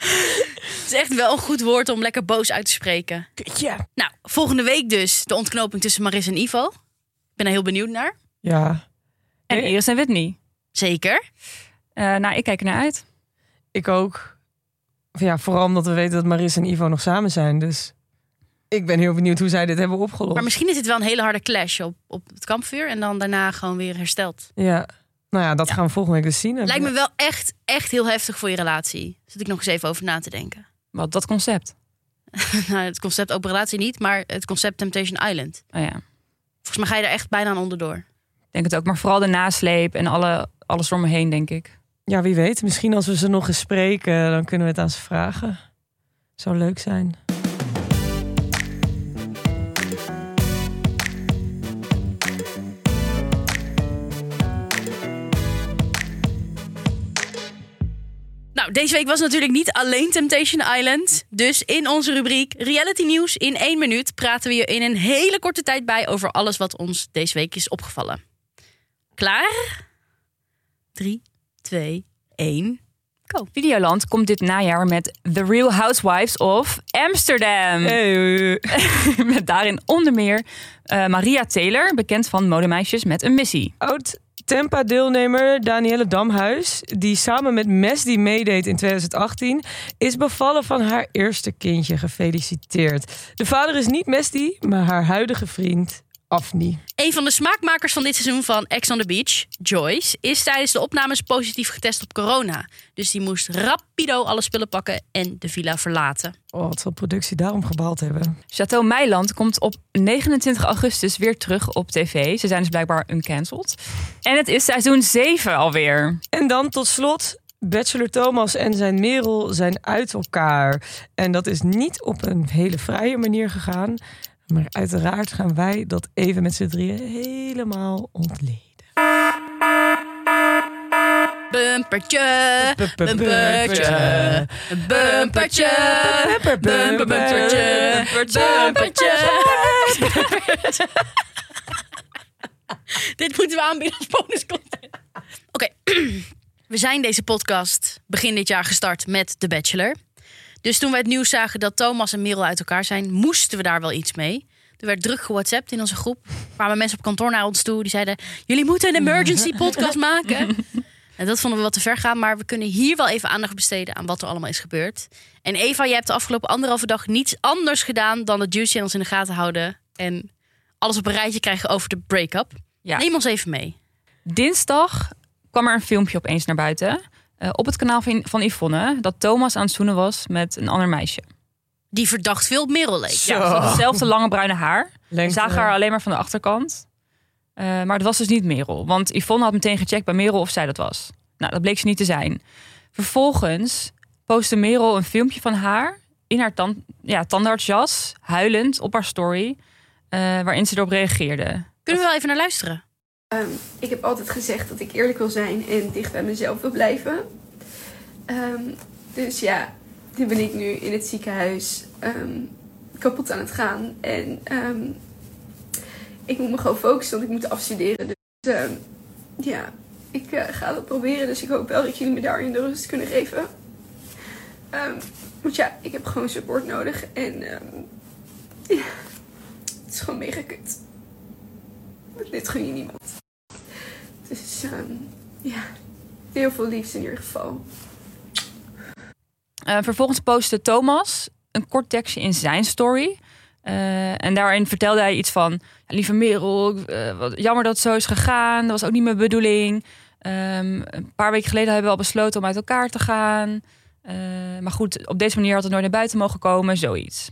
Het is echt wel een goed woord om lekker boos uit te spreken.
Kutje.
Nou, volgende week dus de ontknoping tussen Maris en Ivo. Ik ben er heel benieuwd naar.
Ja,
En Iris en Whitney.
Zeker.
Eh, nou, ik kijk er naar uit.
ik ook. Ja, vooral omdat we weten dat Maris en Ivo nog samen zijn. Dus ik ben heel benieuwd hoe zij dit hebben opgelost.
Maar misschien is dit wel een hele harde clash op, op het kampvuur. En dan daarna gewoon weer hersteld.
Ja. Nou ja, dat gaan we volgende week dus zien.
Lijkt me wel echt, echt heel heftig voor je relatie. Zit ik nog eens even over na te denken.
Wat dat concept.
nou, het concept open relatie niet, maar het concept Temptation Island.
Oh ja.
Volgens mij ga je er echt bijna aan onderdoor.
denk het ook. Maar vooral de nasleep en alle, alles om me heen, denk ik.
Ja, wie weet. Misschien als we ze nog eens spreken, dan kunnen we het aan ze vragen. Zou leuk zijn.
Nou, deze week was natuurlijk niet alleen Temptation Island. Dus in onze rubriek Reality Nieuws in één minuut praten we je in een hele korte tijd bij over alles wat ons deze week is opgevallen. Klaar? 3, 2, 1.
Oh, Videoland komt dit najaar met The Real Housewives of Amsterdam.
Eh.
Met daarin onder meer eh, Maria Taylor, bekend van Modemeisjes met een missie.
Oud Tempa-deelnemer Danielle Damhuis, die samen met Mes die meedeed in 2018, is bevallen van haar eerste kindje. Gefeliciteerd. De vader is niet Mesdi, maar haar huidige vriend Afni.
Een van de smaakmakers van dit seizoen van Ex on the Beach, Joyce, is tijdens de opnames positief getest op corona. Dus die moest rapido alle spullen pakken en de villa verlaten.
Oh, wat zal productie daarom gebaald hebben.
Chateau Meiland komt op 29 augustus weer terug op tv. Ze zijn dus blijkbaar uncancelled. En het is seizoen 7 alweer.
En dan tot slot, Bachelor Thomas en zijn Merel zijn uit elkaar. En dat is niet op een hele vrije manier gegaan. Maar uiteraard gaan wij dat even met z'n drieën helemaal ontleden.
Bumpertje, bumpertje, bumpertje, bumpertje, bumpertje, bumpertje. Dit moeten we aanbieden als bonuscontent. Oké, we zijn deze podcast begin dit jaar gestart met The Bachelor. Dus toen wij het nieuws zagen dat Thomas en Merel uit elkaar zijn, moesten we daar wel iets mee. Er werd druk gewhatsappt in onze groep. Er kwamen mensen op kantoor naar ons toe die zeiden: Jullie moeten een emergency podcast maken. En dat vonden we wat te ver gaan, maar we kunnen hier wel even aandacht besteden aan wat er allemaal is gebeurd. En Eva, jij hebt de afgelopen anderhalve dag niets anders gedaan dan de Juice Channels in de gaten houden en alles op een rijtje krijgen over de break-up.
Ja.
Neem ons even mee.
Dinsdag kwam er een filmpje opeens naar buiten. eh, op het kanaal van, van Yvonne. Dat Thomas aan het zoenen was met een ander meisje.
Die verdacht veel op Merel leek.
Zo.
Ja, ze had hetzelfde lange bruine haar. We
Lengte.
zagen haar alleen maar van de achterkant. Eh, maar het was dus niet Merel. Want Yvonne had meteen gecheckt bij Merel of zij dat was. Nou, dat bleek ze niet te zijn. Vervolgens postte Merel een filmpje van haar... in haar tand, ja, tandartsjas, huilend, op haar story... eh, waarin ze erop reageerde.
Kunnen we wel even naar luisteren?
Ehm, ik heb altijd gezegd dat ik eerlijk wil zijn en dicht bij mezelf wil blijven. Ehm, dus ja, nu ben ik nu in het ziekenhuis ehm, kapot aan het gaan. En ehm, ik moet me gewoon focussen, want ik moet afstuderen. Dus ehm, ja, ik eh, ga dat proberen. Dus ik hoop wel dat jullie me daarin de rust kunnen geven. Ehm, want ja, ik heb gewoon support nodig. En ehm, ja, het is gewoon mega kut. Want Dit gun je niemand. Dus ehm, ja, heel veel liefde in ieder geval.
Eh, vervolgens postte Thomas een kort tekstje in zijn story. Eh, en daarin vertelde hij iets van... Lieve Merel, ik- eh, wat, jammer dat het zo is gegaan. Dat was ook niet mijn bedoeling. Ehm, een paar weken geleden hebben we al besloten om uit elkaar te gaan. Eh, maar goed, op deze manier had het nooit naar buiten mogen komen. Zoiets.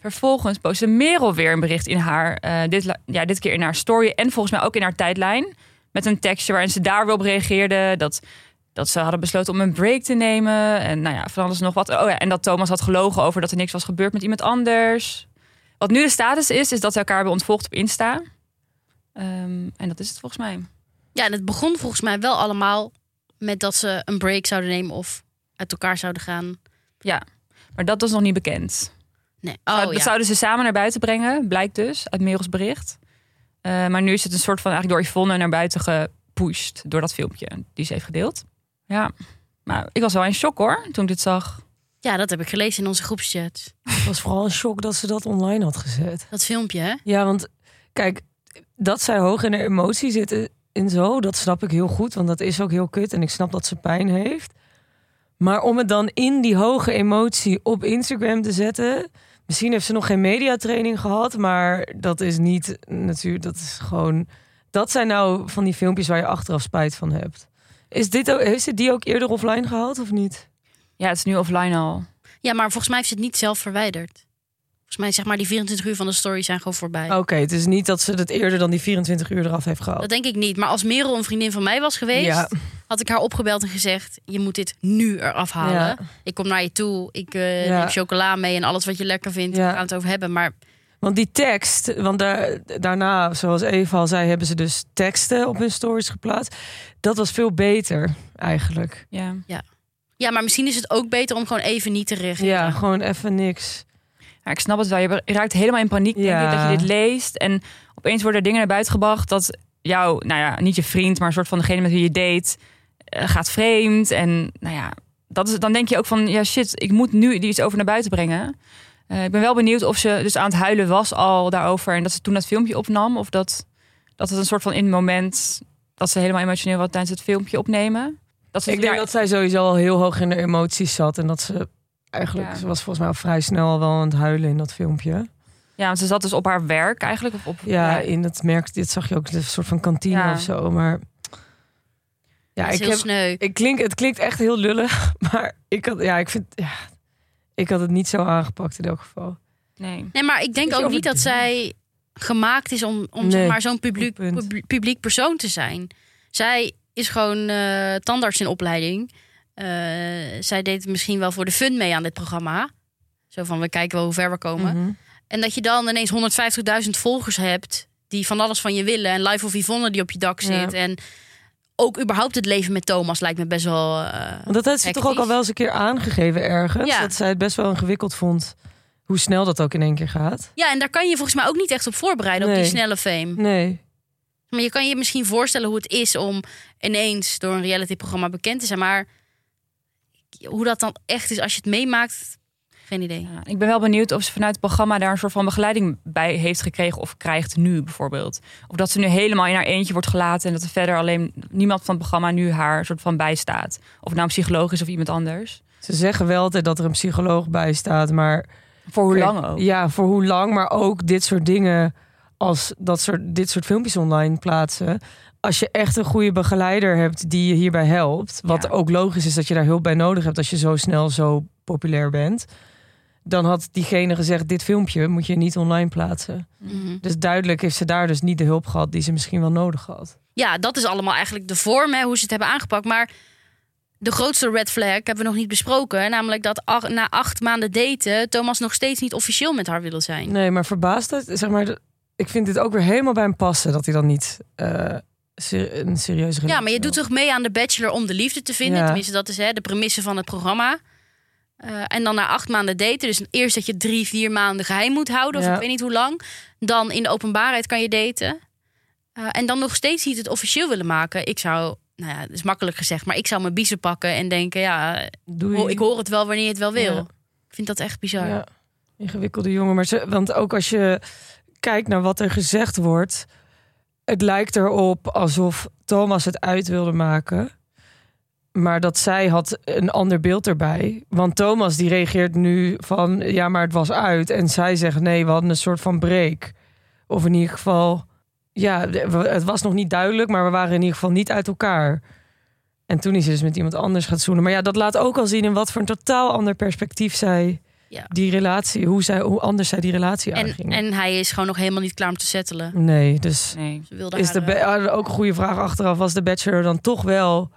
Vervolgens postte Merel weer een bericht in haar... eh, dit, la- ja, dit keer in haar story en volgens mij ook in haar tijdlijn. Met een tekstje waarin ze daar weer op reageerde. Dat Dat ze hadden besloten om een break te nemen. En nou ja, van alles en nog wat. Oh ja, en dat Thomas had gelogen over dat er niks was gebeurd met iemand anders. Wat nu de status is, is dat ze elkaar hebben ontvolgd op Insta. Ehm, en dat is het volgens mij.
Ja, en het begon volgens mij wel allemaal met dat ze een break zouden nemen of uit elkaar zouden gaan.
Maar dat was nog niet bekend.
Nee.
Zou-
Oh,
dat
ja.
zouden ze samen naar buiten brengen, blijkt dus uit Merels bericht. Eh, maar nu is het een soort van eigenlijk door Yvonne naar buiten gepusht door dat filmpje die ze heeft gedeeld. Ja, maar ik was wel in shock hoor toen ik dit zag.
ja, dat heb ik gelezen in onze groepschat.
Het was vooral een shock dat ze dat online had gezet.
Dat filmpje, hè?
Ja, want kijk, dat zij hoog in haar emotie zitten en zo, dat snap ik heel goed. Want dat is ook heel kut en ik snap dat ze pijn heeft. Maar om het dan in die hoge emotie op Instagram te zetten. Misschien heeft ze nog geen mediatraining gehad, maar dat is niet natuurlijk. Dat is gewoon. Dat zijn nou van die filmpjes waar je achteraf spijt van hebt. Is dit ook, heeft ze die ook eerder offline gehaald of niet?
Ja, het is nu offline al.
Ja, maar volgens mij heeft ze het niet zelf verwijderd. Volgens mij, zeg maar, die 24 uur van de story zijn gewoon voorbij.
Oh.
Oké, het is niet dat ze dat eerder dan die 24 uur eraf heeft gehaald.
Dat denk ik niet. Maar als Merel een vriendin van mij was geweest,
Ja.
had ik haar opgebeld en gezegd: Je moet dit nu eraf halen.
Ja.
Ik kom naar je toe, ik eh,
Ja.
neem chocola mee en alles wat je lekker vindt.
Ja.
We gaan het over hebben. Maar
Want die tekst, want daar, daarna, zoals Eva al zei, hebben ze dus teksten op hun stories geplaatst. Dat was veel beter eigenlijk.
Ja.
Ja, maar misschien is het ook beter om gewoon even niet te reageren.
Ja, gewoon even niks.
Ja, ik snap het wel. Je raakt helemaal in paniek denk
Ja.
ik, dat je dit leest. En opeens worden er dingen naar buiten gebracht dat jouw, nou ja, niet je vriend, maar een soort van degene met wie je date, eh, gaat vreemd. En nou ja, dat is, dan denk je ook van, ja shit, ik moet nu die iets over naar buiten brengen. Eh, ik ben wel benieuwd of ze dus aan het huilen was al daarover. En dat ze toen dat filmpje opnam. Of dat, dat het een soort van in het moment dat ze helemaal emotioneel was tijdens het filmpje opnemen. Dat ze
Ik denk
ja,
dat zij sowieso al heel hoog in de emoties zat. En dat ze eigenlijk,
Ja.
ze was volgens mij al vrij snel al wel aan het huilen in dat filmpje.
ja, want ze zat dus op haar werk eigenlijk. Of op,
Ja, in dat merk, dit zag je ook, een soort van kantine
Ja.
of zo. Maar ja,
Dat is
ik
heel
heb,
sneu.
ik klink, het klinkt echt heel lullig. Maar ik had, ja, ik vind, ja, ik had het niet zo aangepakt in elk geval.
nee.
Nee, maar ik denk
Is je
ook niet dat zij gemaakt is om, om zeg
Nee,
maar zo'n publiek,
goed punt.
pub- publiek persoon te zijn. Zij is gewoon eh, tandarts in opleiding. Eh, zij deed misschien wel voor de fun mee aan dit programma. Zo van, we kijken wel hoe ver we komen.
Mhm.
En dat je dan ineens 150.000 volgers hebt... die van alles van je willen. En Life of Yvonne die op je dak
Ja.
zit. En ook überhaupt het leven met Thomas lijkt me best wel... eh,
Want dat heeft ze toch ook
Hectisch.
al wel eens een keer aangegeven ergens.
Ja.
Dat zij het best wel ingewikkeld vond. Hoe snel dat ook in één keer gaat.
Ja, en daar kan je je volgens mij ook niet echt op voorbereiden, op
Nee.
die snelle fame.
Nee.
Maar je kan je misschien voorstellen hoe het is om ineens door een realityprogramma bekend te zijn. Maar hoe dat dan echt is als je het meemaakt, geen idee.
Ja, ik ben wel benieuwd of ze vanuit het programma daar een soort van begeleiding bij heeft gekregen of krijgt nu bijvoorbeeld. Of dat ze nu helemaal in haar eentje wordt gelaten en dat er verder alleen niemand van het programma nu haar soort van bijstaat. Of nou een psycholoog is of iemand anders.
Ze zeggen wel altijd dat er een psycholoog bij staat. Maar
Voor hoe lang ook.
Ja, voor hoe lang. Maar ook dit soort dingen. Als dat soort, dit soort filmpjes online plaatsen. Als je echt een goede begeleider hebt die je hierbij helpt. Wat
Ja.
ook logisch is dat je daar hulp bij nodig hebt. Als je zo snel zo populair bent. Dan had diegene gezegd: Dit filmpje moet je niet online plaatsen.
Mhm.
Dus duidelijk heeft ze daar dus niet de hulp gehad die ze misschien wel nodig had.
Ja, dat is allemaal eigenlijk de vorm, hè, hoe ze het hebben aangepakt. Maar de grootste red flag hebben we nog niet besproken. Namelijk dat ach- na acht maanden daten Thomas nog steeds niet officieel met haar wil zijn.
Nee, maar verbaast het, zeg maar, de- ik vind dit ook weer helemaal bij hem passen dat hij dan niet eh, ser- een serieuze
Ja,
relatie
maar je doet
wil.
toch mee aan de Bachelor om de liefde te vinden?
Ja.
Tenminste, dat is hè, de premisse van het programma. Eh, en dan na acht maanden daten, dus eerst dat je drie, vier maanden geheim moet houden, of
Ja.
ik weet niet hoe lang. Dan in de openbaarheid kan je daten. Eh, en dan nog steeds niet het officieel willen maken. Ik zou, nou ja, dat is makkelijk gezegd, maar ik zou mijn biezen pakken en denken, ja,
Doei.
ho- Oh, ik hoor het wel wanneer je het wel wil.
Ja.
Ik vind dat echt bizar.
Ja, ingewikkelde jongen. Maar ze, want ook als je kijkt naar wat er gezegd wordt, het lijkt erop alsof Thomas het uit wilde maken. Maar dat zij had een ander beeld erbij. Want Thomas die reageert nu van ja, maar het was uit. En zij zegt nee, we hadden een soort van break. Of in ieder geval, ja, we- het was nog niet duidelijk, maar we waren in ieder geval niet uit elkaar. En toen is ze dus met iemand anders gaat zoenen. Maar ja, dat laat ook al zien in wat voor een totaal ander perspectief zij
Ja.
die relatie, hoe, zij, hoe anders zij die relatie
En,
aanging.
en hij is gewoon nog helemaal niet klaar om te settelen.
Nee, dus
Nee.
Ze wilde
is
haar,
de
eh,
ba- ah, ook een goede vraag achteraf. Was de Bachelor dan toch wel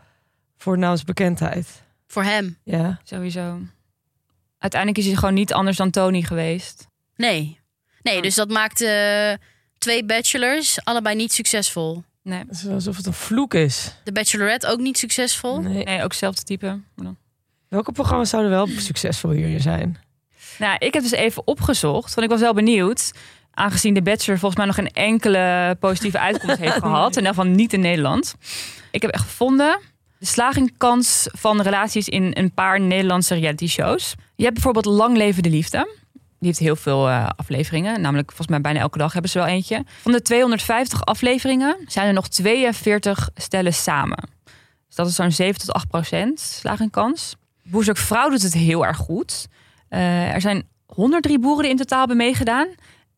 voor naamsbekendheid.
Voor hem.
Ja.
Sowieso. Uiteindelijk is hij gewoon niet anders dan Tony geweest.
Nee.
Oh.
Nee, dus dat maakt eh, twee bachelors, allebei niet succesvol.
Nee.
Het is alsof het een vloek is.
De bachelorette ook niet succesvol.
Nee.
Nee, ook hetzelfde type. Maar dan-
Welke programma's zouden wel succesvol hierin zijn?
Nou, ik heb dus even opgezocht, want ik was wel benieuwd. Aangezien de Bachelor volgens mij nog geen enkele positieve uitkomst heeft gehad. In ieder geval niet in Nederland. Ik heb echt gevonden de slagingkans van relaties in een paar Nederlandse reality shows. Je hebt bijvoorbeeld Lang Leven de Liefde. Die heeft heel veel eh, afleveringen. Namelijk volgens mij bijna elke dag hebben ze wel eentje. Van de 250 afleveringen zijn er nog 42 stellen samen. Dus dat is zo'n 7 tot 8 procent slagingkans. Boezek Vrouw doet het heel erg goed. Eh, er zijn 103 boeren die in totaal hebben meegedaan.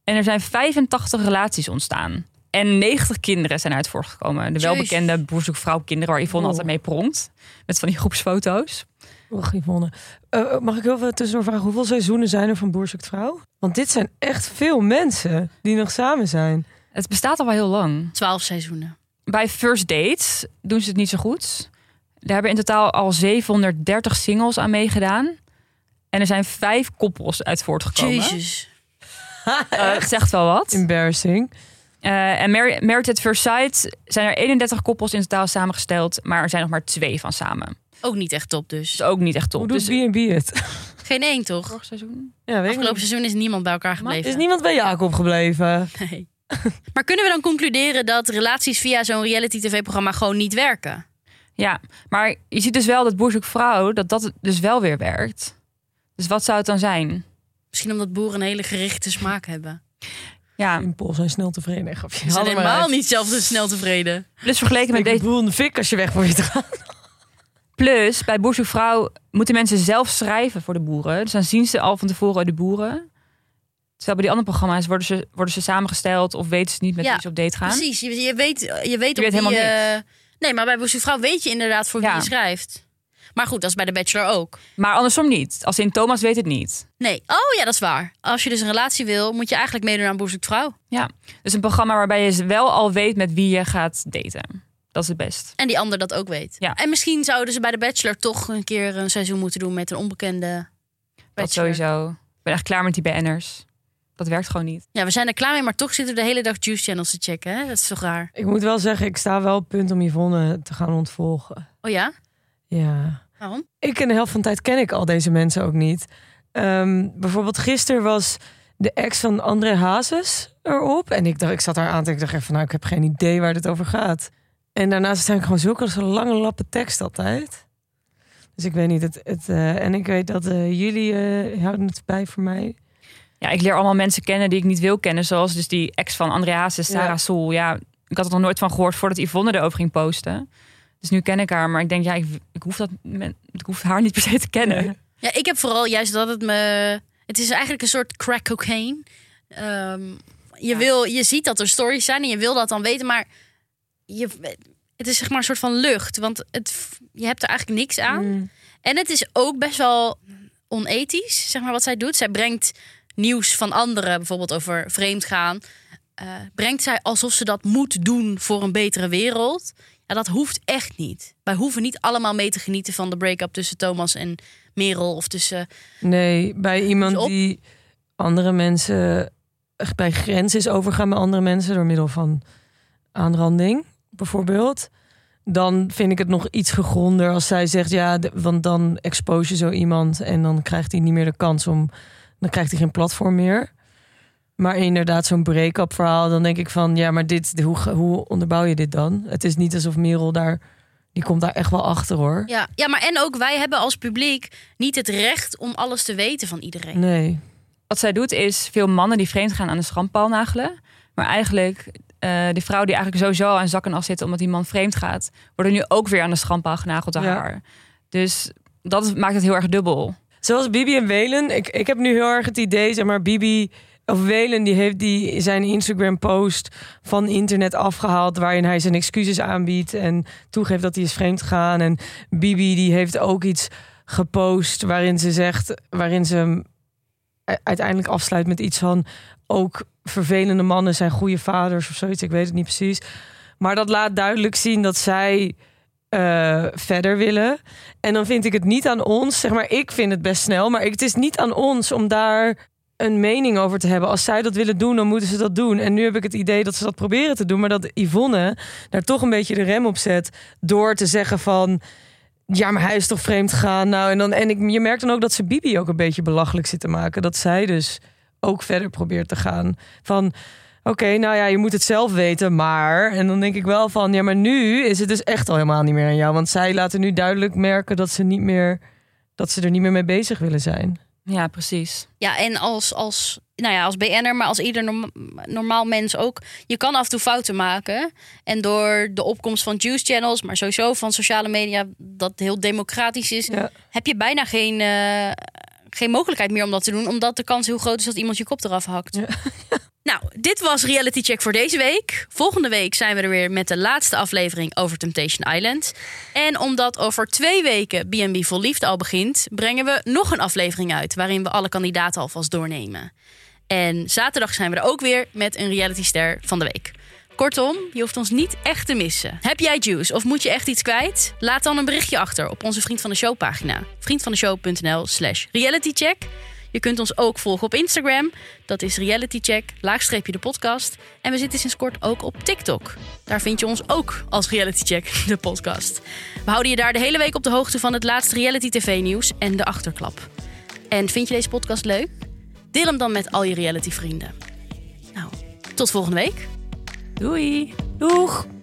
En er zijn 85 relaties ontstaan. En 90 kinderen zijn uit voortgekomen. De
Jezus.
welbekende eh, Boerzoek Vrouw kinderen waar Yvonne
Wow.
altijd mee pronkt. Met van die groepsfoto's.
Och, Yvonne. Eh, mag ik heel veel tussendoor vragen? Hoeveel seizoenen zijn er van Boer zoekt vrouw? Want dit zijn echt veel mensen die nog samen zijn.
Het bestaat al wel heel lang.
Twaalf seizoenen.
Bij First Dates doen ze het niet zo goed. Daar hebben in totaal al 730 singles aan meegedaan. En er zijn vijf koppels uit voortgekomen.
Jezus.
Eh, het zegt wel wat.
Embarrassing.
Eh, en Mar- Married at First Sight zijn er 31 koppels in totaal samengesteld. Maar er zijn nog maar twee van samen.
Ook niet echt top dus.
Dus ook niet echt
Hoe
top.
doet
Dus
B&B het?
Geen één toch?
vorig seizoen?
Ja, weet ik
Afgelopen
niet.
seizoen is niemand bij elkaar gebleven.
Is niemand bij Jacob gebleven?
Nee. Maar kunnen we dan concluderen dat relaties via zo'n reality tv-programma gewoon niet werken?
Ja, maar je ziet dus wel dat Boerzoek Vrouw, dat dat dus wel weer werkt. Dus wat zou het dan zijn?
Misschien omdat boeren een hele gerichte smaak hebben.
Ja,
Impuls zijn snel tevreden. Nee, grapje.
Ze zijn
Haal er maar
helemaal
uit.
niet zelf zo snel tevreden.
plus vergeleken met
Ik
deze.
bedoel een fik als je weg moet gaan.
Plus, bij Boerzoek Vrouw moeten mensen zelf schrijven voor de boeren. Dus dan zien ze al van tevoren de boeren. Terwijl bij die andere programma's worden ze, worden ze samengesteld of weten ze niet met
Ja,
wie ze op date gaan.
Precies, je, je weet, je weet, op
weet
wie,
helemaal
eh, nee, maar bij Boerse Vrouw weet je inderdaad voor
Ja.
wie je schrijft. Maar goed, dat is bij de Bachelor ook.
Maar andersom niet. Als in Thomas weet het niet.
Nee, oh ja, dat is waar. Als je dus een relatie wil, moet je eigenlijk meedoen aan Boerse Vrouw.
Ja, dus een programma waarbij je wel al weet met wie je gaat daten. Dat is het best.
En die ander dat ook weet.
Ja.
En misschien zouden ze bij de Bachelor toch een keer een seizoen moeten doen met een onbekende
Dat
bachelor.
sowieso. Ik ben echt klaar met die BN'ers. Dat werkt gewoon niet.
Ja, we zijn er klaar mee, maar toch zitten we de hele dag Juice Channels te checken. Hè? Dat is toch raar?
Ik moet wel zeggen, ik sta wel op punt om Yvonne te gaan ontvolgen.
Oh ja?
Ja.
Waarom?
ik en de helft van de tijd ken ik al deze mensen ook niet. Ehm, bijvoorbeeld gisteren was de ex van André Hazes erop. En ik, dacht, ik zat daar aan te ik dacht even van, nou, ik heb geen idee waar dit over gaat. En daarnaast zijn ik gewoon zulke zo'n lange lappen tekst altijd. Dus ik weet niet, het, het, eh, en ik weet dat eh, jullie eh, houden het bij voor mij.
Ja, ik leer allemaal mensen kennen die ik niet wil kennen. Zoals dus die ex van Andreas en Sarah
Ja.
Soel. Ja, ik had er nog nooit van gehoord voordat Yvonne erover ging posten. Dus nu ken ik haar. Maar ik denk, ja, ik, ik, hoef, dat, men- ik hoef haar niet per se te kennen.
Ja, ik heb vooral juist dat het me... Het is eigenlijk een soort crack cocaine. Ehm, je, wil, je ziet dat er stories zijn en je wil dat dan weten, maar je, het is zeg maar een soort van lucht. Want het, je hebt er eigenlijk niks aan. En het is ook best wel onethisch, zeg maar, wat zij doet. Zij brengt nieuws van anderen, bijvoorbeeld over vreemdgaan. eh, brengt zij alsof ze dat moet doen voor een betere wereld. Ja, dat hoeft echt niet. Wij hoeven niet allemaal mee te genieten van de break-up tussen Thomas en Merel. Of tussen.
Nee, bij iemand
op.
die andere mensen echt bij grens is overgaan met andere mensen door middel van aanranding, bijvoorbeeld. Dan vind ik het nog iets gegronder als zij zegt ja, de- want dan expose je zo iemand en dan krijgt hij niet meer de kans om, dan krijgt hij geen platform meer. Maar inderdaad, zo'n break-up verhaal, dan denk ik van ja, maar dit, hoe, ge- hoe onderbouw je dit dan? Het is niet alsof Merel daar, die komt daar echt wel achter hoor.
Ja. ja, maar en ook wij hebben als publiek niet het recht om alles te weten van iedereen.
Nee.
Wat zij doet is veel mannen die vreemd gaan aan de schandpaal nagelen. Maar eigenlijk, eh de vrouw die eigenlijk sowieso aan zak en as zit omdat die man vreemd gaat, worden nu ook weer aan de schandpaal genageld door
Ja.
haar. Dus dat is- maakt het heel erg dubbel.
Zoals Bibi en Welen. Ik, ik heb nu heel erg het idee, zeg maar, Bibi of Welen die heeft die, zijn Instagram-post van internet afgehaald. waarin hij zijn excuses aanbiedt en toegeeft dat hij is vreemd gegaan. En Bibi die heeft ook iets gepost waarin ze zegt. waarin ze hem u- uiteindelijk afsluit met iets van. ook vervelende mannen zijn goede vaders of zoiets. Ik weet het niet precies. Maar dat laat duidelijk zien dat zij eh, verder willen. En dan vind ik het niet aan ons, zeg maar, ik vind het best snel, maar ik, het is niet aan ons om daar een mening over te hebben. Als zij dat willen doen, dan moeten ze dat doen. En nu heb ik het idee dat ze dat proberen te doen, maar dat Yvonne daar toch een beetje de rem op zet door te zeggen van. Ja, maar hij is toch vreemd gegaan. Nou, en, dan, en ik, je merkt dan ook dat ze Bibi ook een beetje belachelijk zit te maken. Dat zij dus ook verder probeert te gaan. Van, oké, nou ja, je moet het zelf weten, maar... En dan denk ik wel van, ja, maar nu is het dus echt al helemaal niet meer aan jou. Want zij laten nu duidelijk merken dat ze, niet meer, dat ze er niet meer mee bezig willen zijn.
Ja, precies.
Ja, en als, als, nou ja, als BN'er, maar als ieder norm- normaal mens ook. Je kan af en toe fouten maken. En door de opkomst van juice channels, maar sowieso van sociale media, dat heel democratisch is,
Ja.
heb je bijna geen, eh, geen mogelijkheid meer om dat te doen. Omdat de kans heel groot is dat iemand je kop eraf hakt.
Ja.
Nou, dit was Reality Check voor deze week. Volgende week zijn we er weer met de laatste aflevering over Temptation Island. En omdat over twee weken B&B Vol Liefde al begint... brengen we nog een aflevering uit... waarin we alle kandidaten alvast doornemen. En zaterdag zijn we er ook weer met een realityster van de week. Kortom, je hoeft ons niet echt te missen. Heb jij juice of moet je echt iets kwijt? Laat dan een berichtje achter op onze Vriend van de Show pagina. vriendvandeshow.nl slash realitycheck. Je kunt ons ook volgen op Instagram. Dat is realitycheck, laagstreepje de podcast. En we zitten sinds kort ook op TikTok. Daar vind je ons ook als realitycheck, de podcast. We houden je daar de hele week op de hoogte van het laatste reality tv nieuws en de achterklap. En vind je deze podcast leuk? Deel hem dan met al je reality vrienden. Nou, tot volgende week.
Doei.
Doeg!